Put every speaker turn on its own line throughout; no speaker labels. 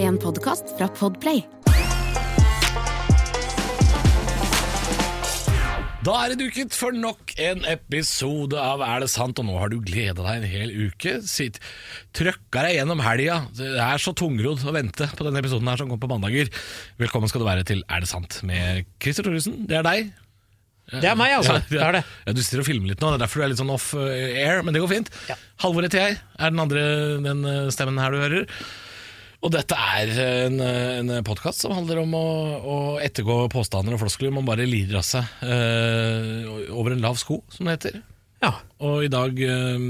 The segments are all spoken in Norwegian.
en podkast fra Podplay.
Da er det duket for nok en episode av Er det sant? Og nå har du gleda deg en hel uke. Sitt, trøkka deg gjennom helga. Det er så tungrodd å vente på denne episoden her som kommer på mandager. Velkommen skal du være til Er det sant? med Christer Thoresen. Det er deg.
Det er meg, altså. det er det.
Ja, du sitter og filmer litt nå, det er derfor du er litt sånn off eh, air, men det går fint.
Ja.
Halvor heter jeg, er den andre den eh, stemmen her du hører. Og dette er en, eh, en podkast som handler om å, å ettergå påstander og floskler man bare lider av seg eh, over en lav sko, som det heter.
Ja.
Og i dag eh,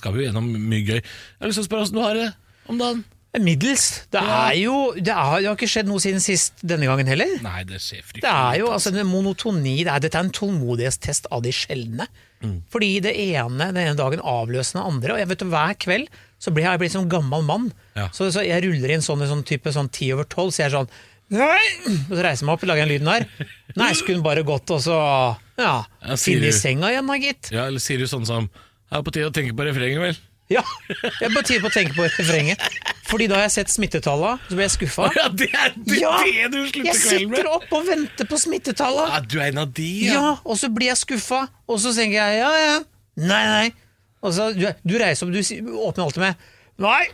skal vi jo gjennom mye gøy. Jeg har lyst til å spørre åssen du har det om dagen.
Middels. Det
Ja.
er jo det, er, det har ikke skjedd noe siden sist denne gangen heller.
Nei, det skjer fryktelig
Det er jo
lite,
altså en monotoni det er, Dette er en tålmodighetstest av de sjeldne.
Mm.
Fordi det ene den ene dagen avløser den andre. Og jeg vet du, hver kveld så blir jeg, jeg blir som en gammel mann.
Ja.
Så, så jeg ruller inn sånn, sånn type sånn ti over tolv, så jeg er sånn Nei! Og så reiser jeg meg opp og lager den lyden der. Nei, skulle hun bare gått og så ja,
Ja, sier
finne i
du.
senga igjen, da, gitt.
Ja, eller sier du sånn som Det er på tide å tenke på refrenget, vel?
Ja, jeg er på tide på å tenke på refrenget. Fordi da har jeg sett smittetallene, så ble jeg skuffa.
Ja, det er det,
Ja,
det du
Jeg
slutter kvelden med!
sitter opp og venter på smittetallene!
Ja, du er en av de, ja.
Ja, og så blir jeg skuffa, og så tenker jeg ja, ja, nei, nei. Og så du, du reiser opp, du si- åpner alltid med nei,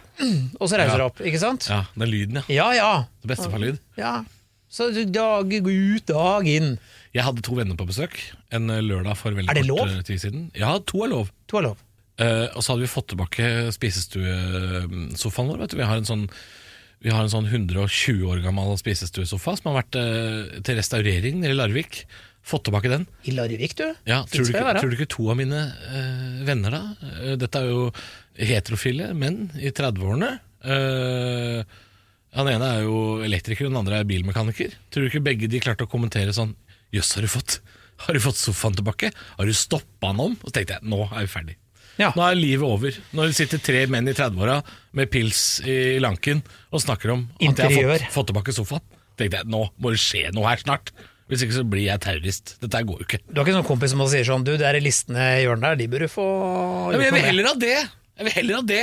og så reiser du
Ja.
opp, ikke sant?
Ja, den lyden, ja.
Ja, ja.
Det beste for lyd.
ja. Så du dag ut, dag inn.
Jeg hadde to venner på besøk en eh, lørdag for veldig
Er det
kort
lov?
eh, tid siden. Ja, to er lov.
Du har lov.
Eh, og så hadde vi fått tilbake spisestuesofaen vår. Vet du. Vi har en sånn vi har en sånn 120 år gammel spisestuesofa som har vært eh, til restaurering nede i Larvik. Fått tilbake den.
I Larvik, du.
Ja,
Dit
tror, du
skal
ikke,
jeg være.
tror du ikke to av mine eh, venner da eh, Dette er jo heterofile menn i 30-årene. Eh, han ene er jo elektriker, den andre er bilmekaniker. Tror du ikke begge de klarte å kommentere sånn Jøss, har du fått Har du fått sofaen tilbake? Har du stoppa han om? Og så tenkte jeg, nå er vi ferdig.
Ja.
Nå er livet over. Når det sitter tre menn i 30-åra med pils i lanken og snakker om at jeg har
Interiør.
fått, fått tilbake sofaen, tenkte jeg nå må det skje noe her snart. Hvis ikke så blir jeg terrorist. Dette her går jo ikke.
Du har ikke sånn kompis som også sier sånn Du, det er listene i hjørnet der, de bør du få
Ja, men jeg
gjort noe
vil
med.
heller ha det Jeg vil heller ha det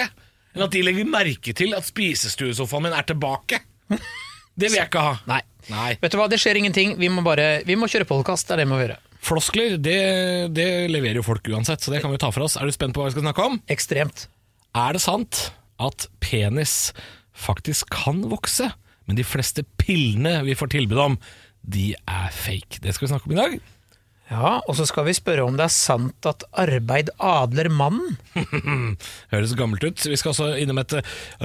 Enn at de legger merke til at spisestuesofaen min er tilbake Det vil jeg ikke ha
Nei.
Nei.
Vet du hva, det skjer ingenting. Vi må bare Vi må kjøre podkast, det er det vi må gjøre.
Floskler, det, det leverer jo folk uansett Så det kan vi ta for oss Er du spent på hva vi skal snakke om?
Ekstremt.
Er det sant at penis faktisk kan vokse Men de fleste pillene vi får tilbud om De er fake Det skal vi snakke om i dag
Ja, og så skal vi spørre om det er sant at arbeid adler mannen.
Høres gammelt ut Vi skal også innom et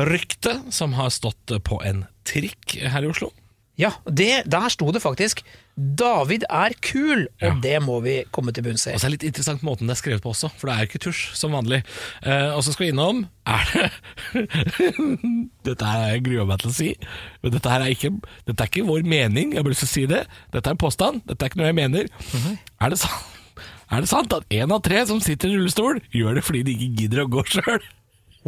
rykte Som har stått på en trikk her i Oslo
Ja, det, der sto det faktisk 'David er kul', og
Ja.
det må vi komme til bunns i.
Og så er det litt interessant måten det er skrevet på også, for det er jo ikke tusj, som vanlig. Eh, og så skal vi innom Er det Dette her er jeg gruer meg til å si, men dette her er ikke, dette er ikke vår mening, jeg har bare lyst til å si det. Dette er en påstand, dette er ikke noe jeg mener. Er det sant? Er det sant at én av tre som sitter i rullestol, gjør det fordi de ikke gidder å gå sjøl?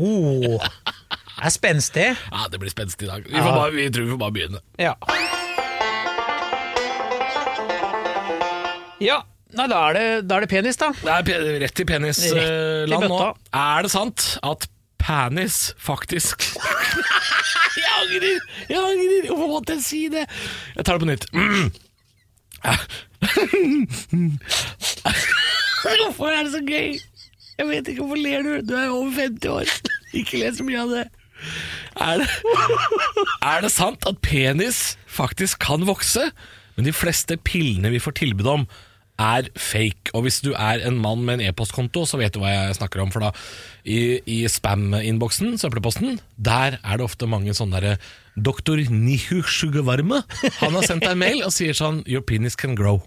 Oh, det er spenstig.
Ja, det blir spenstig i dag. Vi, får bare, vi tror vi får bare begynne.
Ja. ja. Nei, da er, det, da er det penis, da.
Det er pe- rett i
Rett i
penisland nå.
bøtta.
Er det sant at penis faktisk Jeg angrer! Jeg angrer! Hvorfor måtte jeg si det? Jeg tar det på nytt. Mm. Hvorfor er det så gøy? Jeg vet ikke, hvorfor ler du? Du er over 50 år. Ikke le så mye av det. Er det, er det sant at penis faktisk kan vokse? Men de fleste pillene vi får tilbud om, er fake. Og hvis du er en mann med en e-postkonto, så vet du hva jeg snakker om. For da, i, i spam-innboksen, søppelposten, der er det ofte mange sånne derre Doktor Nihu Sugavarme. Han har sendt deg en mail og sier sånn Your penis can grow.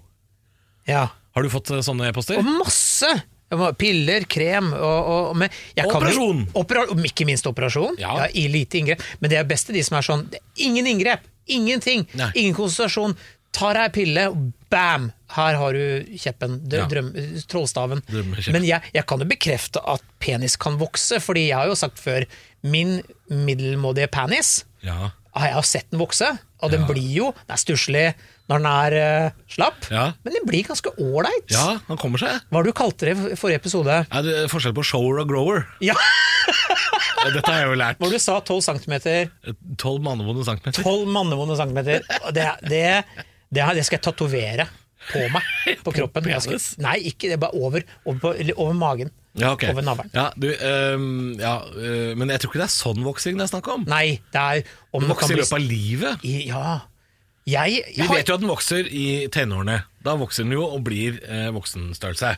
Ja.
Har du fått eh, sånne e-poster?
Og masse! Jeg må- Piller, krem og, og, og men jeg kan jo-
Operasjon.
Opera, ikke minst operasjon.
Ja.
Ja. i lite inngrep. Men det er best til de som er sånn det er Ingen inngrep! Ingenting!
Nei.
Ingen konsentrasjon. Tar ei pille, og bam! Her har du kjeppen. Drø
Ja.
drøm, trollstaven.
Drømmekjepp.
Men jeg, jeg kan jo bekrefte at penis kan vokse, fordi jeg har jo sagt før min middelmådige penis
Ja.
har jeg jo sett den vokse. Og den blir jo Den er stusslig når den er eh, slapp,
Ja.
men den blir ganske ålreit.
Ja, han kommer seg.
Hva var det du kalte det i forrige episode?
Nei, det er forskjell på shower og grower.
Ja,
Dette har jeg jo lært.
Hvor du sa 12 cm.
Tolv mannevonde centimeter.
12 mannevonde centimeter. Og Det, det, det, her- det skal jeg tatovere på meg. På kroppen. Jeg skal,
penis?
nei, ikke det. Bare over, over, på, eller over magen.
Ja, ok.
Over navlen.
Ja, du, øhm, ja, øh, men jeg tror ikke det er sånn voksing det er snakk om.
Nei, det er om det
Vokser
kan
i
bli
løpet av livet.
I- Ja. Jeg,
Vi
jeg har,
vet jo at den vokser i tenårene. Da vokser den jo og blir eh, voksenstørrelse.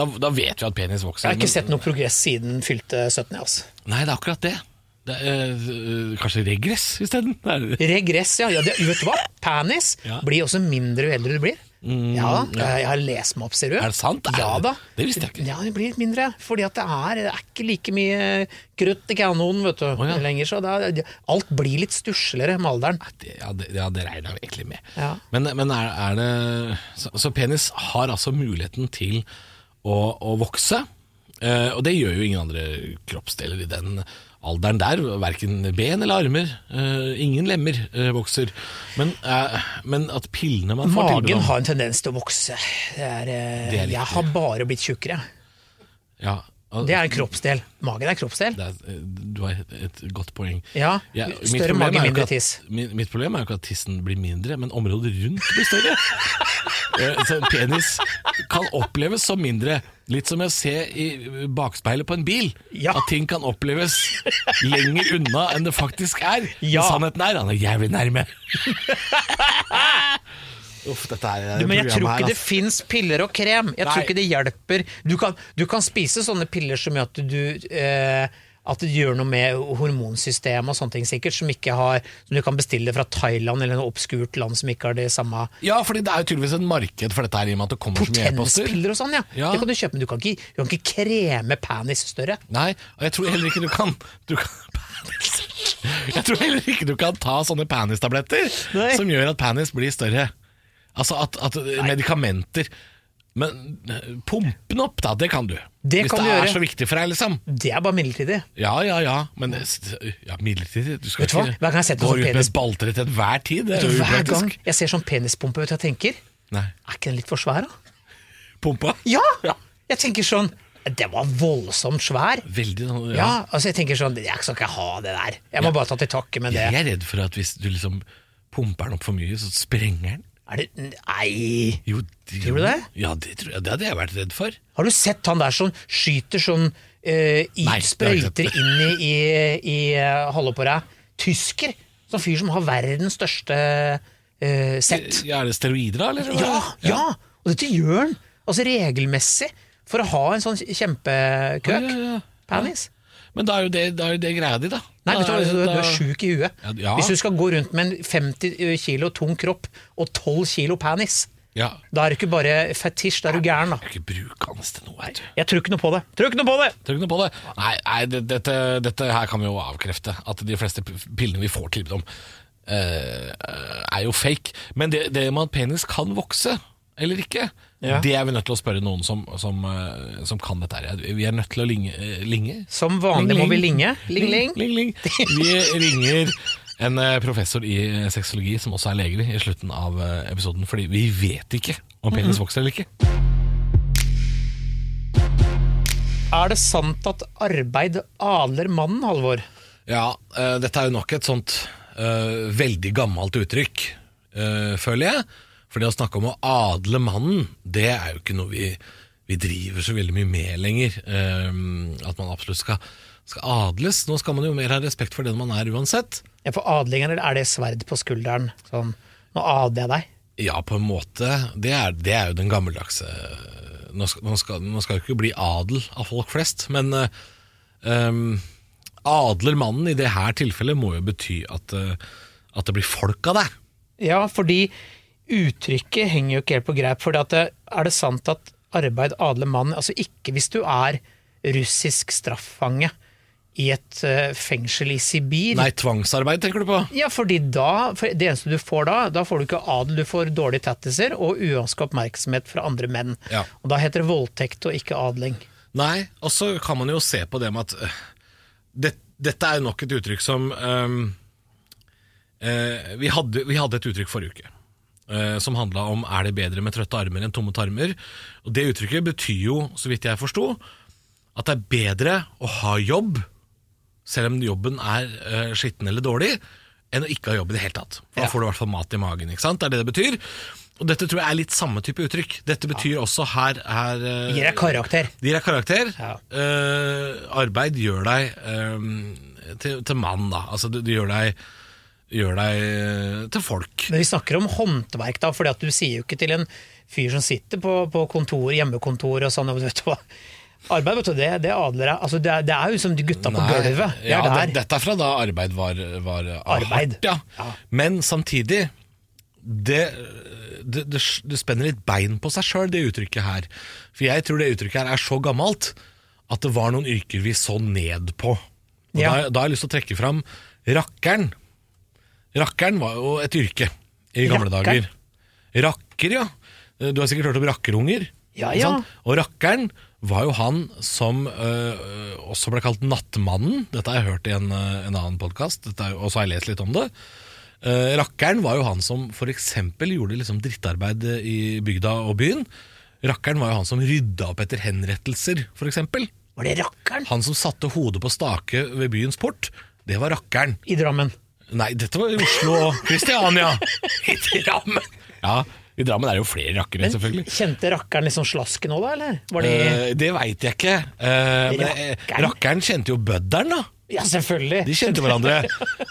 Da, da vet vi at penis vokser.
jeg har
men-
ikke sett noe progress siden fylte 17. jeg, Altså.
Nei, det er akkurat det. det er, øh, kanskje regress isteden? Det er-
Regress, ja. ja det, vet du hva? Panis
Ja. Mm,
blir også mindre jo eldre du blir. ja, eh, jeg har lest meg opp, ser du.
Er det sant? Er
Ja
det-
da.
det visste jeg ikke.
Ja, det blir litt mindre. Fordi at det er, det er ikke like mye krutt i kanonen vet du,
ja.
lenger. Så det er, alt blir litt stussligere med alderen.
Det- Ja, det, ja, det regner jeg egentlig med.
Ja.
Men, men er, er det så, så penis har altså muligheten til å, å vokse, eh, og det gjør jo ingen andre kroppsdeler i den alderen der. Verken ben eller armer. eh, ingen lemmer eh, vokser. Men, eh, men at pillene man får tilbud
Magen
om-
har en tendens til å vokse. Det er, eh,
Det er riktig.
jeg har bare blitt tjukkere.
ja, og-
Det er en kroppsdel. Magen er en kroppsdel.
det er, eh, Du har et, et godt poeng.
Ja,
mitt
Større
problem
mage,
er jo ikke
mindre
at-
tiss.
Min, mitt problem er jo ikke at tissen blir mindre, men området rundt blir større. Eh, Så penis kan oppleves som mindre. Litt som å se i bakspeilet på en bil.
Ja.
At ting kan oppleves lenger unna enn det faktisk er.
Ja.
Men sannheten er han er jævlig nærme. Uff, dette er
Men jeg tror
programmet her,
ikke det
altså.
fins piller og krem. Jeg tror
Nei.
ikke det hjelper. Du kan, du kan spise sånne piller som gjør at du eh, at det gjør noe med hormonsystemet og sånne ting sikkert, som, ikke har, som du kan bestille fra Thailand eller noe obskurt land som ikke har det samme
Ja, fordi det er jo tydeligvis et marked for dette her, i og med at det kommer så mye e-poster.
Potenspiller og sånn, ja.
Ja.
Det kan du kjøpe, men du kan ikke, du kan ikke kreme penis større.
Nei, og jeg tror heller ikke du kan, du kan Jeg tror heller ikke du kan ta sånne panistabletter
Nei.
som gjør at panis blir større. Altså at, at medikamenter Men pumpe den opp, da. Det kan du.
Det
Hvis
kan
det
du
er
gjøre.
så viktig for deg, liksom.
Det er bare midlertidig.
Ja, ja, ja. Men ja, midlertidig Du skal
Vet du hva? Hver gang
ikke
jeg setter
gå
sånn
ut med
penis-
balter til enhver tid. Det er
Så
jo
hver gang
upraktisk.
jeg ser sånn penispumpe ut, jeg tenker
Nei.
Er ikke den litt for svær, da?
Pumpa?
Ja! Jeg tenker sånn Den var voldsomt svær.
Veldig sånn
Ja, altså jeg tenker sånn Jeg skal ikke ha det der. Jeg må bare ta til takke med det.
Jeg er redd for at hvis du liksom pumper den opp for mye, så sprenger den.
Er det Nei!
Jo,
Tror du det?
Ja, det, tror jeg, det hadde jeg vært redd for.
Har du sett han der som skyter sånn eh, i,
Nei, det har jeg ikke
Sprøyter
sett.
inn i, i, i eh, holde på deg? Tysker! Sånn fyr som har verdens største eh, sett.
Ja, er det steroider, da? Eller?
Ja, ja! Og dette gjør han! Altså regelmessig. For å ha en sånn
Ja,
kjempekrøk.
ja, ja.
Penis.
Men da er jo det, da er jo det greia di, da.
Nei,
Da
vet du, hva,
er-
du, du
da-
er sjuk i huet.
Ja, ja.
Hvis du skal gå rundt med en 50 kilo tung kropp og 12 kilo penis,
Ja.
da er du ikke bare fetisj, da er du gæren, da.
Du er ikke brukende til noe, vet du.
Jeg tror ikke noe på det. Tror ikke noe på det!
Tror ikke noe på det. Nei, nei det, dette, dette her kan vi jo avkrefte. At de fleste p- pillene vi får tilbud om, eh, er jo fake. Men det, det med at penis kan vokse, eller ikke,
Ja.
det er vi nødt til å spørre noen som, som, eh, som kan dette her. Vi er nødt til å linge. eh, linge.
Som vanlig må vi linge. Ling, ling.
Ling, ling. Vi ringer en eh, professor i eh, sexologi som også er lege i slutten av eh, episoden, fordi vi vet ikke om penis vokser eller ikke.
Er det sant at arbeid adler mannen, Halvor?
Ja, eh, dette er jo nok et sånt eh, veldig gammelt uttrykk, eh, føler jeg. For det å snakke om å adle mannen, det er jo ikke noe vi, vi driver så veldig mye med lenger. Eh, at man absolutt skal, skal adles. Nå skal man jo mer ha respekt for den man er uansett.
Ja, for adlingen, eller er det sverd på skulderen? Sånn, nå adler jeg deg.
Ja, på en måte. Det er, det er jo den gammeldagse eh, Nå skal, man, skal, man skal jo ikke bli adel av folk flest, men eh, ehm, adler mannen i det her tilfellet må jo bety at, eh, at det blir folk av deg.
Ja, fordi uttrykket henger jo ikke helt på greip. For er det sant at arbeid adler mannen? Altså ikke hvis du er russisk straffange i et eh, fengsel i Sibir.
Nei, tvangsarbeid tenker du på?
Ja, fordi da, for det eneste du får da, da får du ikke adel, du får dårlige tattiser og uønska oppmerksomhet fra andre menn.
Ja.
Og da heter det voldtekt og ikke adling.
Nei, og så kan man jo eh, se på det med at øh, det, Dette er jo nok et uttrykk som øhm, ehm, eh, vi, hadde, vi hadde et uttrykk forrige uke eh, som handla om er det bedre med trøtte armer enn tomme tarmer. Og Det uttrykket betyr jo, så vidt jeg forsto, at det er bedre å ha jobb, selv om jobben er eh, skitten eller dårlig, enn å ikke ha jobb i det hele tatt. For Da får du i hvert fall mat i magen. ikke sant? Det er det det betyr. Og dette tror jeg er litt samme type uttrykk. Dette betyr også her, her eh,
Gir deg karakter.
det gir deg karakter.
Ja.
Eh, arbeid gjør deg eh, til, til mann, da. Altså, det, det gjør deg, gjør deg eh, til folk.
Men vi snakker om håndverk, da, fordi at du sier jo ikke til en fyr som sitter på, på kontor, hjemmekontor og sånn, og vet du hva. Arbeid, vet du, det, det adler deg. Altså, det, er- det er jo som de gutta på
Nei,
gulvet. Det
ja,
er der.
det- Dette er fra da arbeid var, var
Arbeid.
hardt. Ja.
Ja.
Men samtidig det, det, det, det spenner litt bein på seg sjøl, det uttrykket her. For jeg tror det uttrykket her er så gammelt at det var noen yrker vi så ned på. Og
Ja.
da, da har jeg lyst til å trekke fram rakkeren. Rakkeren var jo et yrke i gamle
Rakkeren?
dager. Rakker, ja. Eh, Du har sikkert hørt om rakkerunger.
Ja,
ikke
ja.
sant? Og rakkeren var jo han som øh, også ble kalt Nattmannen. Dette har jeg hørt i en, øh, en annen podkast, og så har jeg lest litt om det. Eh, rakkeren var jo han som f.eks. gjorde liksom drittarbeid i bygda og byen. Rakkeren var jo han som rydda opp etter henrettelser, f.eks.
Var det rakkeren
Han som satte hodet på stake ved byens port. Det var rakkeren.
i Drammen?
Nei, dette var i Oslo og Kristiania. I Drammen. Ja, i Drammen er det jo flere rakkere, selvfølgelig.
Kjente rakkeren liksom slasken òg, da, eller? Var det
Eh, det veit jeg ikke. Eh, men eh,
Rakkeren?
rakkeren kjente jo bødderen, da.
Ja, selvfølgelig.
De kjente hverandre.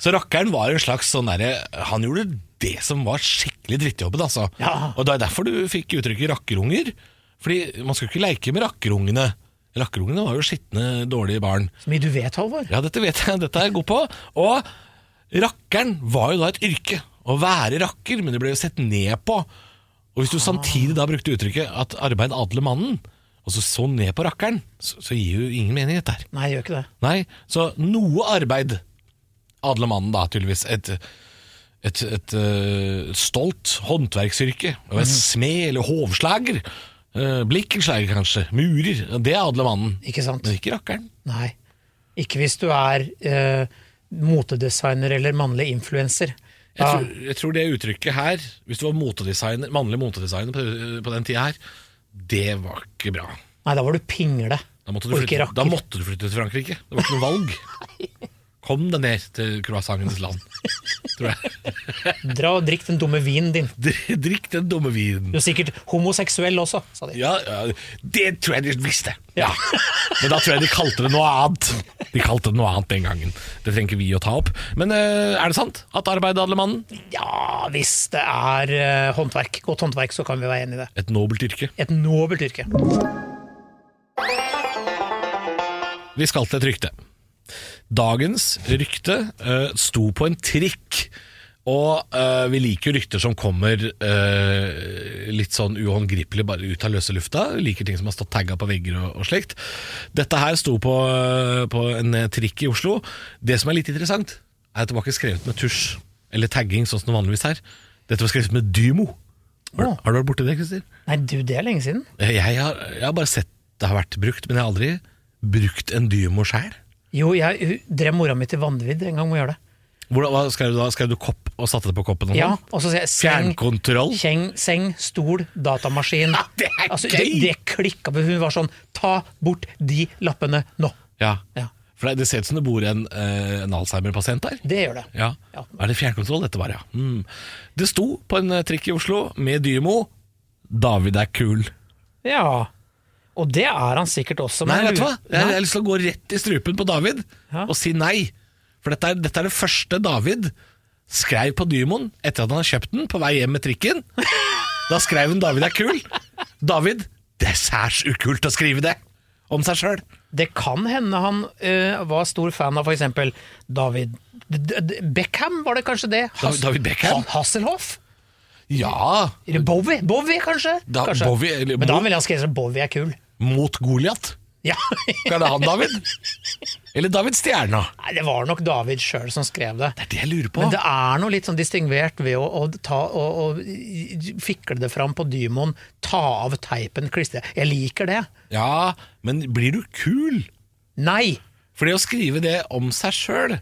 Så rakkeren var en slags sånn derre Han gjorde det som var skikkelig drittjobben, altså.
Ja.
Og det er derfor du fikk uttrykket rakkerunger. Fordi man skulle ikke leike med rakkerungene. Rakkerungene var jo skitne, dårlige barn.
Så mye du vet, Halvor.
Ja, dette vet jeg, dette er jeg god på. Og rakkeren var jo da et yrke. Å være rakker, men det ble jo sett ned på. Og hvis du samtidig da brukte uttrykket at arbeid adler mannen, og så så ned på rakkeren, så, så gir jo ingen mening dette her.
Nei, jeg gjør ikke det.
Nei, så noe arbeid adler mannen da, tydeligvis. Et, et, et, øh, stolt håndverksyrke. Og en smed eller hovslager. øh, Blikkenslager, kanskje. Murer. Det adler mannen.
Ikke sant?
Men ikke rakkeren.
Nei. Ikke hvis du er eh, motedesigner eller mannlig influenser.
Jeg,
Da-
tror, jeg tror det uttrykket her, hvis du var motedesigner, mannlig motedesigner på, på den tida her, det var ikke bra.
Nei, da var du pingle.
Da måtte, du
og ikke
flytte, da
rakker.
måtte du flytte til Frankrike. Det var ikke noe valg. Kom deg ned til croissantenes land, tror jeg.
Dra og drikk den dumme vinen din.
Drikk den dumme vinen.
Du er sikkert homoseksuell også, sa de.
Ja, ja, det tror jeg de visste. Ja. Men da tror jeg de kalte det noe annet. De kalte det noe annet den gangen. Det trenger ikke vi å ta opp. Men eh, er det sant at arbeidet adler mannen?
Ja, hvis det er eh, håndverk, godt håndverk, så kan vi være enig i det.
Et nobelt yrke.
Et nobelt yrke.
Vi skal til et rykte. Dagens rykte eh, sto på en trikk. Og eh, vi liker jo rykter som kommer eh, litt sånn uhåndgripelig bare ut av løse lufta. Vi liker ting som har stått tagga på vegger og, og slikt. Dette her sto på, eh, på en eh, trikk i Oslo. Det som er litt interessant, er at det var ikke skrevet med tusj eller tagging, sånn som det vanligvis er. Dette var skrevet med dymo. Har,
Å.
har du vært borti det, Kristin?
Nei, du, det er lenge siden.
Eh, Jeg har, jeg har bare sett det har vært brukt, men jeg har aldri brukt en dymo sjøl.
Jo, jeg hun drev mora mi til vanvidd en gang med å gjøre det.
Hvordan, hva skrev du da? Skrev du kopp og satte det på koppen? og
Ja,
sånn?
og så sier jeg seng,
Fjernkontroll?
kjeng, seng, stol, datamaskin.
Ja, det er
altså, det,
gøy!
det klikka på hun var sånn Ta bort de lappene nå!
Ja.
Ja.
For det, det ser ut som det bor en, eh, en Alzheimer-pasient der.
Det gjør det.
Ja.
Ja.
Er det fjernkontroll dette var, ja? Mm. Det sto på en eh, trikk i Oslo med Dymo 'David er kul'.
Ja. Og det er han sikkert også.
Nei,
men
vet du hva? Jeg, jeg
Nei.
har lyst til å gå rett i strupen på David
Ja.
og si nei. For dette er, dette er det første David skrev på Dymoen etter at han har kjøpt den på vei hjem med trikken. Da skrev han 'David er kul'. David, det er særs ukult å skrive det om seg sjøl.
Det kan hende han eh, var stor fan av f.eks. David D D Beckham, var det kanskje det? Hass-
David Beckham?
Ha Hasselhoff?
Ja,
Eller Bowie? Bowie, kanskje?
Da-
kanskje.
Bowie, eller
Men da
Mo-
ville han skrevet at sånn, Bowie er kul.
mot Goliat.
Ja.
Er det han, David? Eller David Stjerna?
Nei, det var nok David sjøl som skrev det.
Det er det jeg lurer på.
Men det er noe litt sånn distingvert ved å, å, ta, å, å fikle det fram på Dymoen, ta av teipen, klistre Jeg liker det.
Ja, men blir du kul?
Nei!
For det å skrive det om seg sjøl,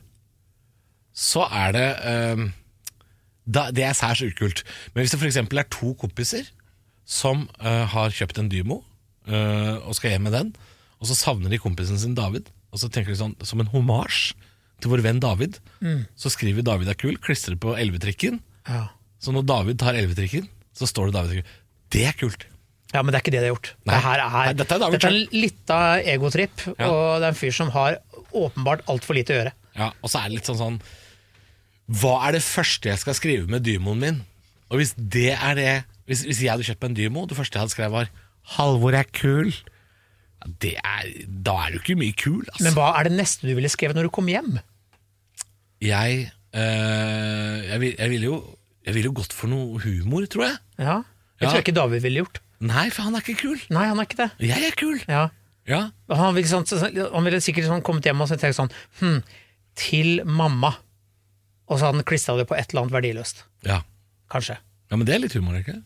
så er det eh, da, det er særs ukult. Men hvis det f.eks. er to kompiser som eh, har kjøpt en Dymo eh, og skal hjem med den, og så savner de kompisen sin David, og så tenker de sånn som en homasj til vår venn David, så skriver David er kul, klistrer det på elvetrikken,
Ja.
så når David tar elvetrikken, så står det David Det er kult!
ja, men det er ikke det de har gjort.
Nei.
Det her
Nei,
er,
dette er David
dette er litt av egotripp,
Ja.
og det er en fyr som har åpenbart altfor lite å gjøre.
Ja, og så er det litt sånn sånn Hva er det første jeg skal skrive med dymoen min? Og hvis det er det Hvis, hvis jeg hadde kjøpt meg en dymo, det første jeg hadde skrevet var 'Halvor er kul', ja, det er, da er du ikke mye kul, altså.
Men hva er det neste du ville skrevet når du kom hjem?
jeg, øh, jeg, vil, jeg ville jo Jeg ville jo gått for noe humor, tror jeg.
Ja. Det
Ja.
tror jeg ikke David ville gjort.
Nei, for han er ikke kul.
Nei, han er ikke det.
Jeg er kul.
Ja.
Ja,
Han ville, sånn, så- så- han ville sikkert sånn kommet hjem og så tenkt sånn hm, Til mamma. Og så hadde han klistra det på et eller annet verdiløst.
ja.
Kanskje.
ja men det er litt humor, ikke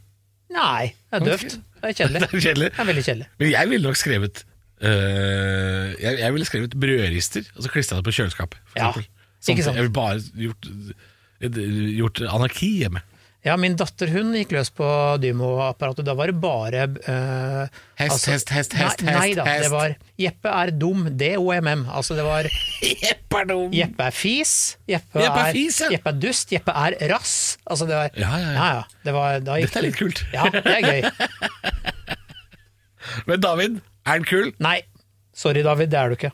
Nei, det er
Ok.
døvt. Det er kjedelig.
Det er kjedelig.
Det er veldig kjedelig.
Men jeg ville nok skrevet øh, jeg, jeg ville skrevet brødrister, og så klistra jeg det på kjøleskapet. for
Ja,
eksempel. Sånn,
ikke sant.
Jeg ville bare gjort, gjort anarki hjemme.
Ja, min datter hun gikk løs på Dymo-apparatet. Da var det bare eh,
Hest, hest, hest, hest,
nei, nei
hest,
da,
hest.
det var Jeppe er dum, D-O-M-M. Altså det var
Jepperdom!
Jeppe er fis, Jeppe,
Jeppe er
er,
fis, ja.
Jeppe er dust, Jeppe er rass. Altså det var,
Ja, ja, ja.
Det var, da gikk
Dette er litt kult.
Ja, det er gøy.
Men David, er han kul?
Nei, sorry David, det er du ikke.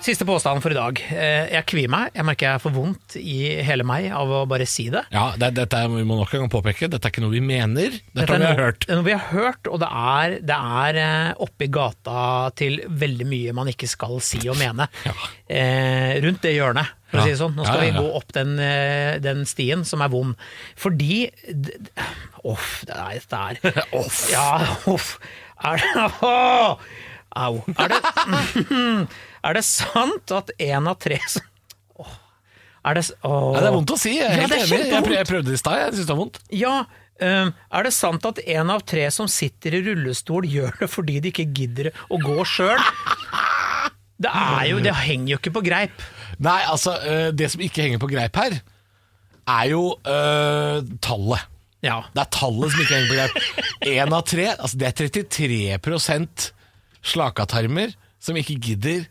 Siste påstand for i dag. Eh, Jeg kvier meg. Jeg merker jeg får vondt i hele meg av å bare si det.
Ja, det, dette er, vi må nok en gang påpeke, dette er ikke noe vi mener. Dette,
Dette
har vi
er noe-
hørt.
det er noe vi har hørt, og det er, det er eh, oppi gata til veldig mye man ikke skal si og mene.
Ja.
Eh, rundt det hjørnet, for
Ja.
å si det sånn. Nå
Ja,
skal
ja, ja.
vi gå opp den, eh, den stien som er vond. Fordi d- d- Uff, det er dette er
Off.
Ja, uff. Er det Åh! Au. Er det, er det sant at én av tre som Åh. Er det, s- åh.
Nei, det er vondt å si, jeg er
Ja,
helt enig.
det er
Jeg,
kjempevondt.
prø- jeg prøvde det i stad, jeg syns det var vondt.
Ja, ehm, er det sant at en av tre som sitter i rullestol gjør det fordi de ikke gidder å gå sjøl? Det er jo, det henger jo ikke på greip.
Nei, altså, øh, det som ikke henger på greip her, er jo øh, tallet.
Ja.
Det er tallet som ikke henger på greip. Én av tre, altså det er 33 slakatarmer som ikke gidder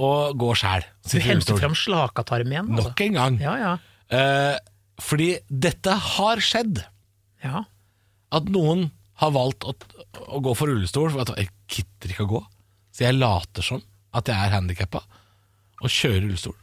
å gå sjæl.
Du
Sitter i
henter
rullestol.
fram slakatarm igjen. altså.
Nok en gang.
Ja, ja.
Eh, fordi dette har skjedd.
ja.
At noen har valgt å, å gå for rullestol. For at jeg gidder ikke å gå. Så jeg later som at jeg er handikappa, og kjører rullestol.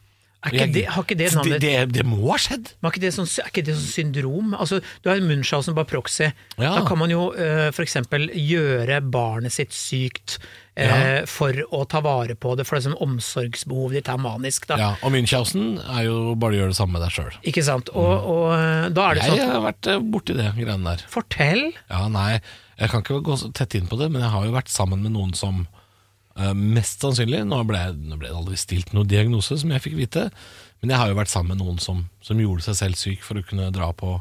Er
Jeg-
ikke det, har ikke det,
Så
navnet,
det, det må ha skjedd.
men er ikke det, sånn, er ikke det sånn syndrom? Altså, du har Munchhausen by proxy.
Ja.
Da kan man jo eh, for f.eks. gjøre barnet sitt sykt eh, for å ta vare på det, for det er sånn omsorgsbehov ditt er manisk. Da.
Ja, og Münchhausen er jo bare å gjøre det samme med deg sjøl.
Ikke sant? Og, og eh, da er det
Jeg
sånn at
har vært eh, borti det greiene der.
Fortell!
Ja, nei, jeg kan ikke gå så tett inn på det, men jeg har jo vært sammen med noen som eh, mest sannsynlig, nå ble, jeg- nå ble det aldri stilt noen diagnose som jeg fikk vite, men jeg har jo vært sammen med noen som, som gjorde seg selv syk for å kunne dra på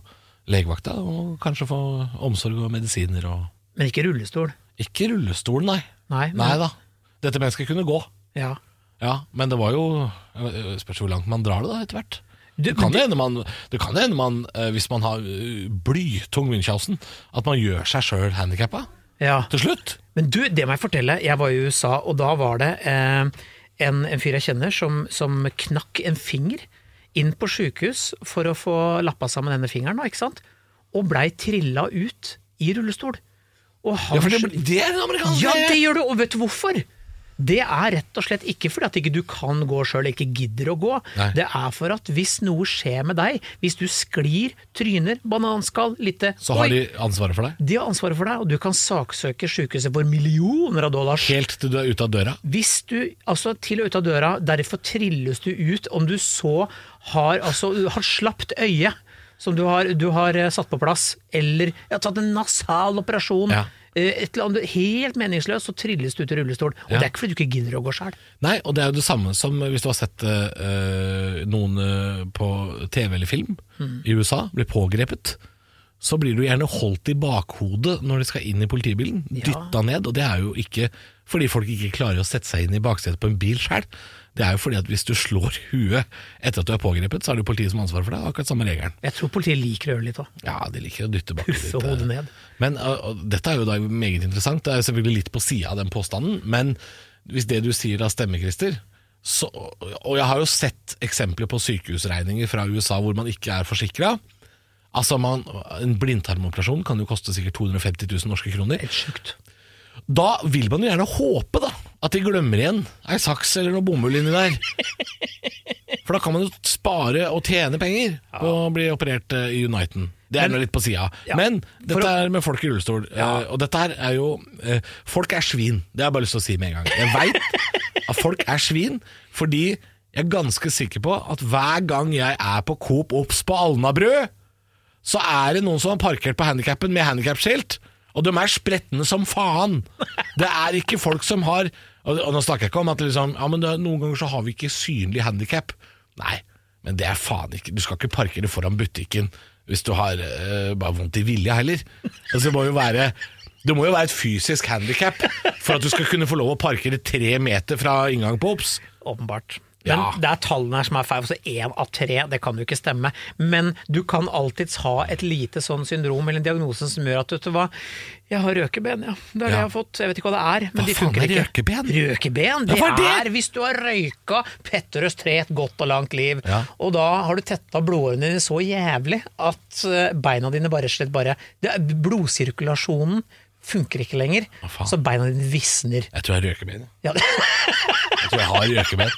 legevakta og kanskje få omsorg og medisiner og
Men ikke rullestol.
Ikke rullestol, nei.
Nei, men-
da. Dette mennesket kunne gå.
Ja.
Ja, men det var jo øh, Spørs hvor langt man drar det da, etter hvert.
Du-
Det kan jo hende man, det kan jo hende man øh, hvis man har øh, blytung Munchhausen, at man gjør seg sjøl handikappa
ja.
til slutt.
Men du, det må jeg fortelle. Jeg var i USA, og da var det eh, en, en fyr jeg kjenner som, som knakk en finger inn på sjukehus for å få lappa sammen denne fingeren, da, ikke sant? Og blei trilla ut i rullestol. Og han
Ja, for det, det er den amerikanske
Ja, det gjør du, og vet du hvorfor? Det er rett og slett ikke fordi at ikke du kan gå sjøl, ikke gidder å gå.
Nei.
Det er for at hvis noe skjer med deg, hvis du sklir, tryner, bananskall, lite
Så har de ansvaret for deg.
De har ansvaret for deg, og du kan saksøke sykehuset for millioner av dollar.
Helt til du er ute av døra.
Hvis du, altså til og ut av døra, derfor trilles du ut om du så har, altså, du har slapt øye som du har, du har eh, satt på plass, eller ja, tatt en nasal operasjon.
Ja.
eh, Et eller annet helt meningsløst, så trilles du ut i rullestol. Og
Ja.
det er ikke fordi du ikke gidder å gå sjøl.
Nei, og det er jo det samme som hvis du har sett eh, eh, noen eh, på TV eller film i USA bli pågrepet. Så blir du gjerne holdt i bakhodet når de skal inn i politibilen. Dytta ned. Og det er jo ikke fordi folk ikke klarer å sette seg inn i baksetet på en bil sjøl. Det er jo fordi at hvis du slår huet etter at du er pågrepet, så er det jo politiet som har ansvaret for det. Det er Akkurat samme regelen.
Jeg tror politiet liker å gjøre litt òg.
Ja, de liker å dytte bakken litt. eh.
Puffe hodet ned.
Men og, og, dette er jo da meget interessant. Det er jo selvfølgelig litt på sida av den påstanden, men hvis det du sier da stemmer, Christer så, Og jeg har jo sett eksempler på sykehusregninger fra USA hvor man ikke er forsikra. Altså, man, en blindtarmoperasjon kan jo koste sikkert 250 000 norske kroner.
Helt sjukt.
Da vil man jo gjerne håpe da at de glemmer igjen ei saks eller noe bomull inni der. For da kan man jo spare og tjene penger på å bli operert eh, i Uniten. Det er
Men-
nå litt på sida.
Ja.
Men dette
For å-
er med folk i rullestol. eh,
Ja.
Og dette her er jo eh, Folk er svin. Det har jeg bare lyst til å si med en gang. Jeg veit at folk er svin fordi jeg er ganske sikker på at hver gang jeg er på Coop Obs på Alnabru, så er det noen som har parkert på handikappen med handikapskilt. Og de er spretne som faen. Det er ikke folk som har Og, og nå snakker jeg ikke om at liksom, ja, men det, noen ganger så har vi ikke synlig handikap. Nei, men det er faen ikke Du skal ikke parkere foran butikken hvis du har eh, bare vondt i vilja heller. Altså, det må jo være det må jo være et fysisk handikap for at du skal kunne få lov å parkere tre meter fra inngang på Obs.
Åpenbart. Men
Ja.
det er tallene her som er feil. Altså én av tre, det kan jo ikke stemme. Men du kan alltids ha et lite sånn syndrom eller en diagnose som gjør at vet du hva, jeg har røkeben, ja. Det er det
Ja.
jeg har fått. Jeg vet ikke hva det er, men
Hva
de
faen
funker
er
ikke.
røkeben?
Røkeben, det,
hva er det?
er hvis du har røyka Petterøes tre et godt og langt liv,
Ja.
og da har du tetta blodårene dine så jævlig at eh, beina dine bare slett bare det, er- Blodsirkulasjonen funker ikke lenger,
faen?
så beina dine visner.
Jeg tror jeg røker ben.
Ja, det-
Jeg tror jeg har røkeben.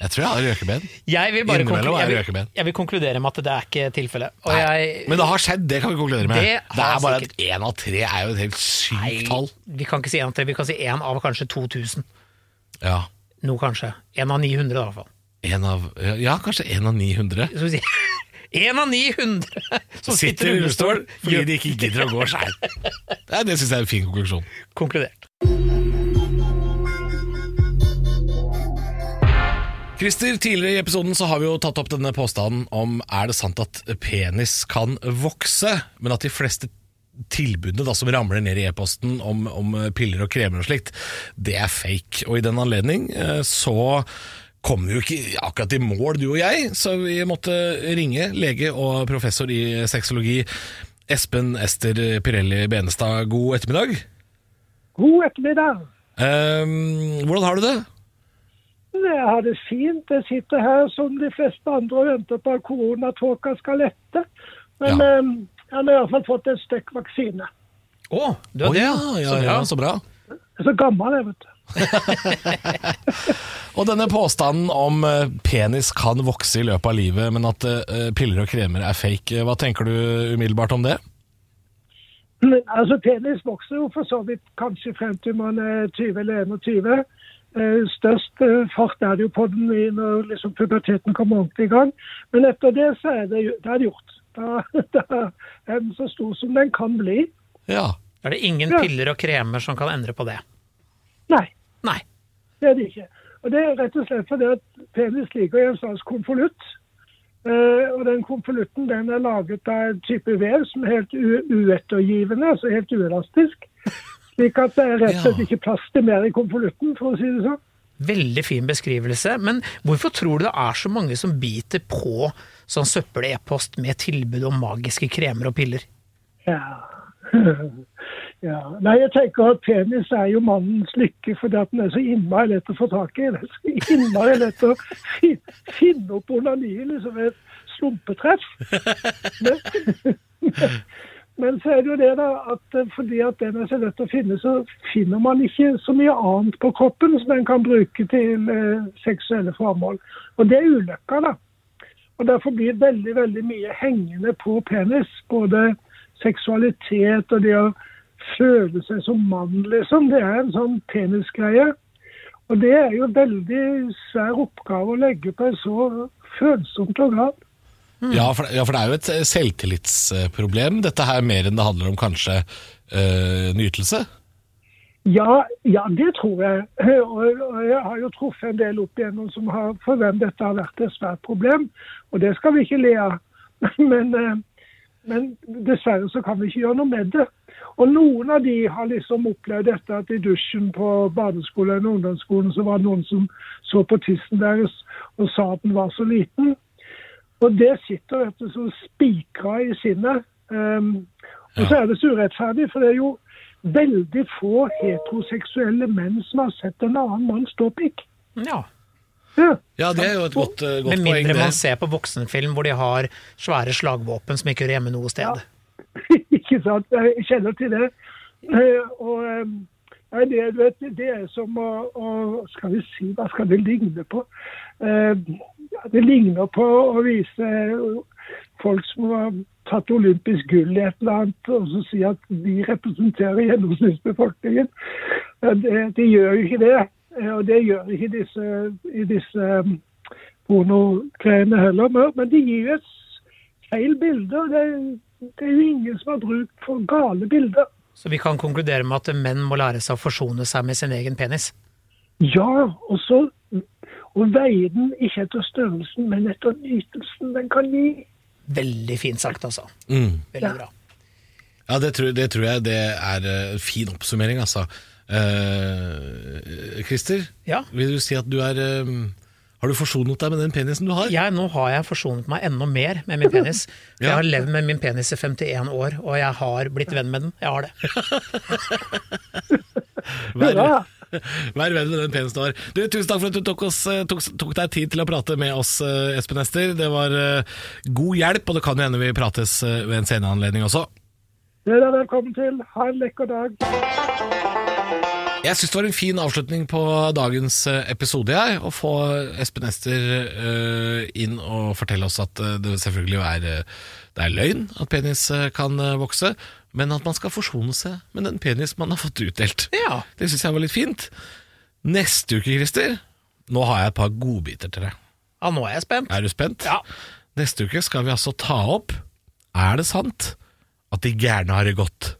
Jeg tror jeg har røkeben.
Jeg vil bare
Innimellom
konklu-
er det
jeg vil,
røkeben.
jeg vil konkludere med at det er ikke tilfellet. Og
Nei,
jeg,
Men det har skjedd, det kan vi konkludere med.
Det
Det,
har
er bare
sikkert-
at én av tre er jo et helt sykt tall.
vi kan ikke si én av tre, vi kan si én av kanskje 2000.
Ja.
Nå kanskje. Én av 900, da, i hvert fall.
En av, ja, kanskje én av 900
Så vi sier- Én av 900 som
sitter i rullestol fordi
Gjør-
de ikke gidder å gå sjæl. Det, det syns jeg er en fin konklusjon.
Konkludert.
Christer, tidligere i episoden så har vi jo tatt opp denne påstanden om er det sant at penis kan vokse, men at de fleste tilbudene da, som ramler ned i e-posten om, om piller og kremer og slikt, det er fake. Og i den anledning eh, så kom vi jo ikke akkurat i mål, du og jeg, så vi måtte ringe lege og professor i sexologi Espen Ester Pirelli Benestad. God ettermiddag.
God ettermiddag.
Ehm, hvordan har du det?
Jeg har det fint. Jeg sitter her som de fleste andre og venter på at koronatåka skal lette. Men
Ja.
eh, jeg har i hvert fall fått en støkk vaksine.
Å, du er
Å,
det?
ja,
Så
ja,
bra.
ja, så bra.
Jeg er så gammel, jeg, vet du.
Og denne påstanden om eh, penis kan vokse i løpet av livet, men at eh, piller og kremer er fake, eh, hva tenker du umiddelbart om det?
Men, Altså, penis vokser jo for så vidt kanskje frem til man er 20 eller 21. Eh, Størst eh, fart er det jo på den i når liksom puberteten kommer ordentlig i gang. Men etter det så er det, jo- da er det gjort. Da, da er den så stor som den kan bli.
Ja.
Er det ingen
Ja.
piller og kremer som kan endre på det?
Nei.
Nei.
Det er det ikke. Og det er rett og slett fordi at penis ligger i en slags konvolutt. Eh, og den konvolutten den er laget av en type vev som er helt u- uettergivende, altså helt uelastisk. Slik at det er rett og slett
Ja.
ikke plass til mer i konvolutten, for å si det sånn.
Veldig fin beskrivelse, men hvorfor tror du det er så mange som biter på sånn søppel-e-post med tilbud om magiske kremer og piller?
Ja. ja. Nei, jeg tenker at penis er jo mannens lykke fordi at den er så innmari lett å få tak i. Det er så innmari lett å fin- finne opp onaniet liksom ved et slumpetreff. Men, men så er det jo det, da, at eh, fordi at den er så lett å finne, så finner man ikke så mye annet på kroppen som en kan bruke til eh, seksuelle formål. Og det er ulykka, da. Og Derfor blir veldig veldig mye hengende på penis. Både seksualitet og det å føle seg som mann, liksom. Det er en sånn penisgreie. Og det er jo veldig svær oppgave å legge på et så følsomt organ.
Mm. Ja, for, ja, for det er jo et eh, selvtillitsproblem, dette her mer enn det handler om kanskje eh, nytelse.
Ja, ja, det tror jeg. Og, og jeg har jo truffet en del opp igjennom som har, for hvem dette har vært et svært problem. Og det skal vi ikke le av. Men eh, Men dessverre så kan vi ikke gjøre noe med det. Og noen av de har liksom opplevd dette at i dusjen på barneskolen og ungdomsskolen så var det noen som så på tissen deres og sa at den var så liten. Og det sitter vet du, som spikra i sinnet. Ehm, og så er det så urettferdig, for det er jo veldig få heteroseksuelle menn som har sett en annen manns ståpikk.
Ja.
Ja.
Ja, det er jo et godt, eh, godt
Med
poeng.
mindre
det.
man ser på voksenfilm hvor de har svære slagvåpen som ikke hører hjemme noe sted.
ikke sant? Jeg kjenner til det. Eh, Og eh, nei, det, du vet, det er som å, å Skal vi si hva skal det ligne på? Eh, ja, Det ligner på å vise folk som har tatt olympisk gull i et eller annet, og så si at de representerer gjennomsnittsbefolkningen. Eh, Det, de gjør jo ikke det. Eh, Og det gjør ikke disse, i disse eh, pornogreiene heller. men- Men de gir jo et feil bilder. Det, det er jo ingen som har bruk for gale bilder.
Så vi kan konkludere med at menn må lære seg å forsone seg med sin egen penis.
Ja, og så og veie den ikke etter størrelsen, men etter nytelsen den kan gi.
Veldig fint sagt, altså.
Mm.
Veldig
Ja.
bra.
Ja, det tror, det tror jeg det er eh, en fin oppsummering, altså. Eh, Christer,
Ja.
vil du si at du er eh, Har du forsonet deg med den penisen du har?
Jeg, nå har jeg forsonet meg enda mer med min penis. Jeg
Ja.
har levd med min penis i 51 år, og jeg har blitt venn med den. Jeg har det.
Vær,
Hurra!
vær venn med den penisen du har. Du, tusen takk for at du tok, oss, eh, tok, tok deg tid til å prate med oss, eh, Espen Ester. Det var eh, god hjelp, og det kan jo hende vi prates eh, ved en senere anledning også.
Det er dere velkommen til. Ha en lekker dag.
Jeg syns det var en fin avslutning på dagens eh, episode, jeg. Å få Espen Ester eh, inn og fortelle oss at eh, det selvfølgelig jo er, eh, det er løgn at penis eh, kan eh, vokse, men at man skal forsone seg med den penis man har fått utdelt.
Ja.
Det syns jeg var litt fint. Neste uke, Christer, nå har jeg et par godbiter til deg.
Ja, nå er jeg spent.
Er du spent?
Ja.
Neste uke skal vi altså ta opp Er det sant at de gærne har det godt?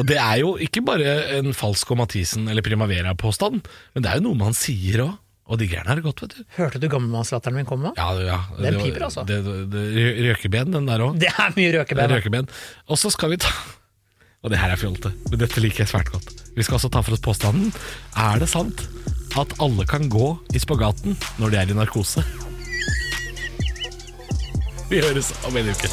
Og det er jo ikke bare en falsk og Mathisen eller Primavera-påstand, men det er jo noe man sier òg. Og de gærne har det godt, vet du.
Hørte du gammelmannslatteren min komme?
Ja, ja.
Den
var-
piper, altså.
Det, det, det, røkeben, den der òg.
Det er mye røkeben.
Røkeben. Og så skal vi ta Og det her er fjolte, men dette liker jeg svært godt. Vi skal også ta for oss påstanden Er det sant at alle kan gå i spagaten når de er i narkose? Vi høres om en uke.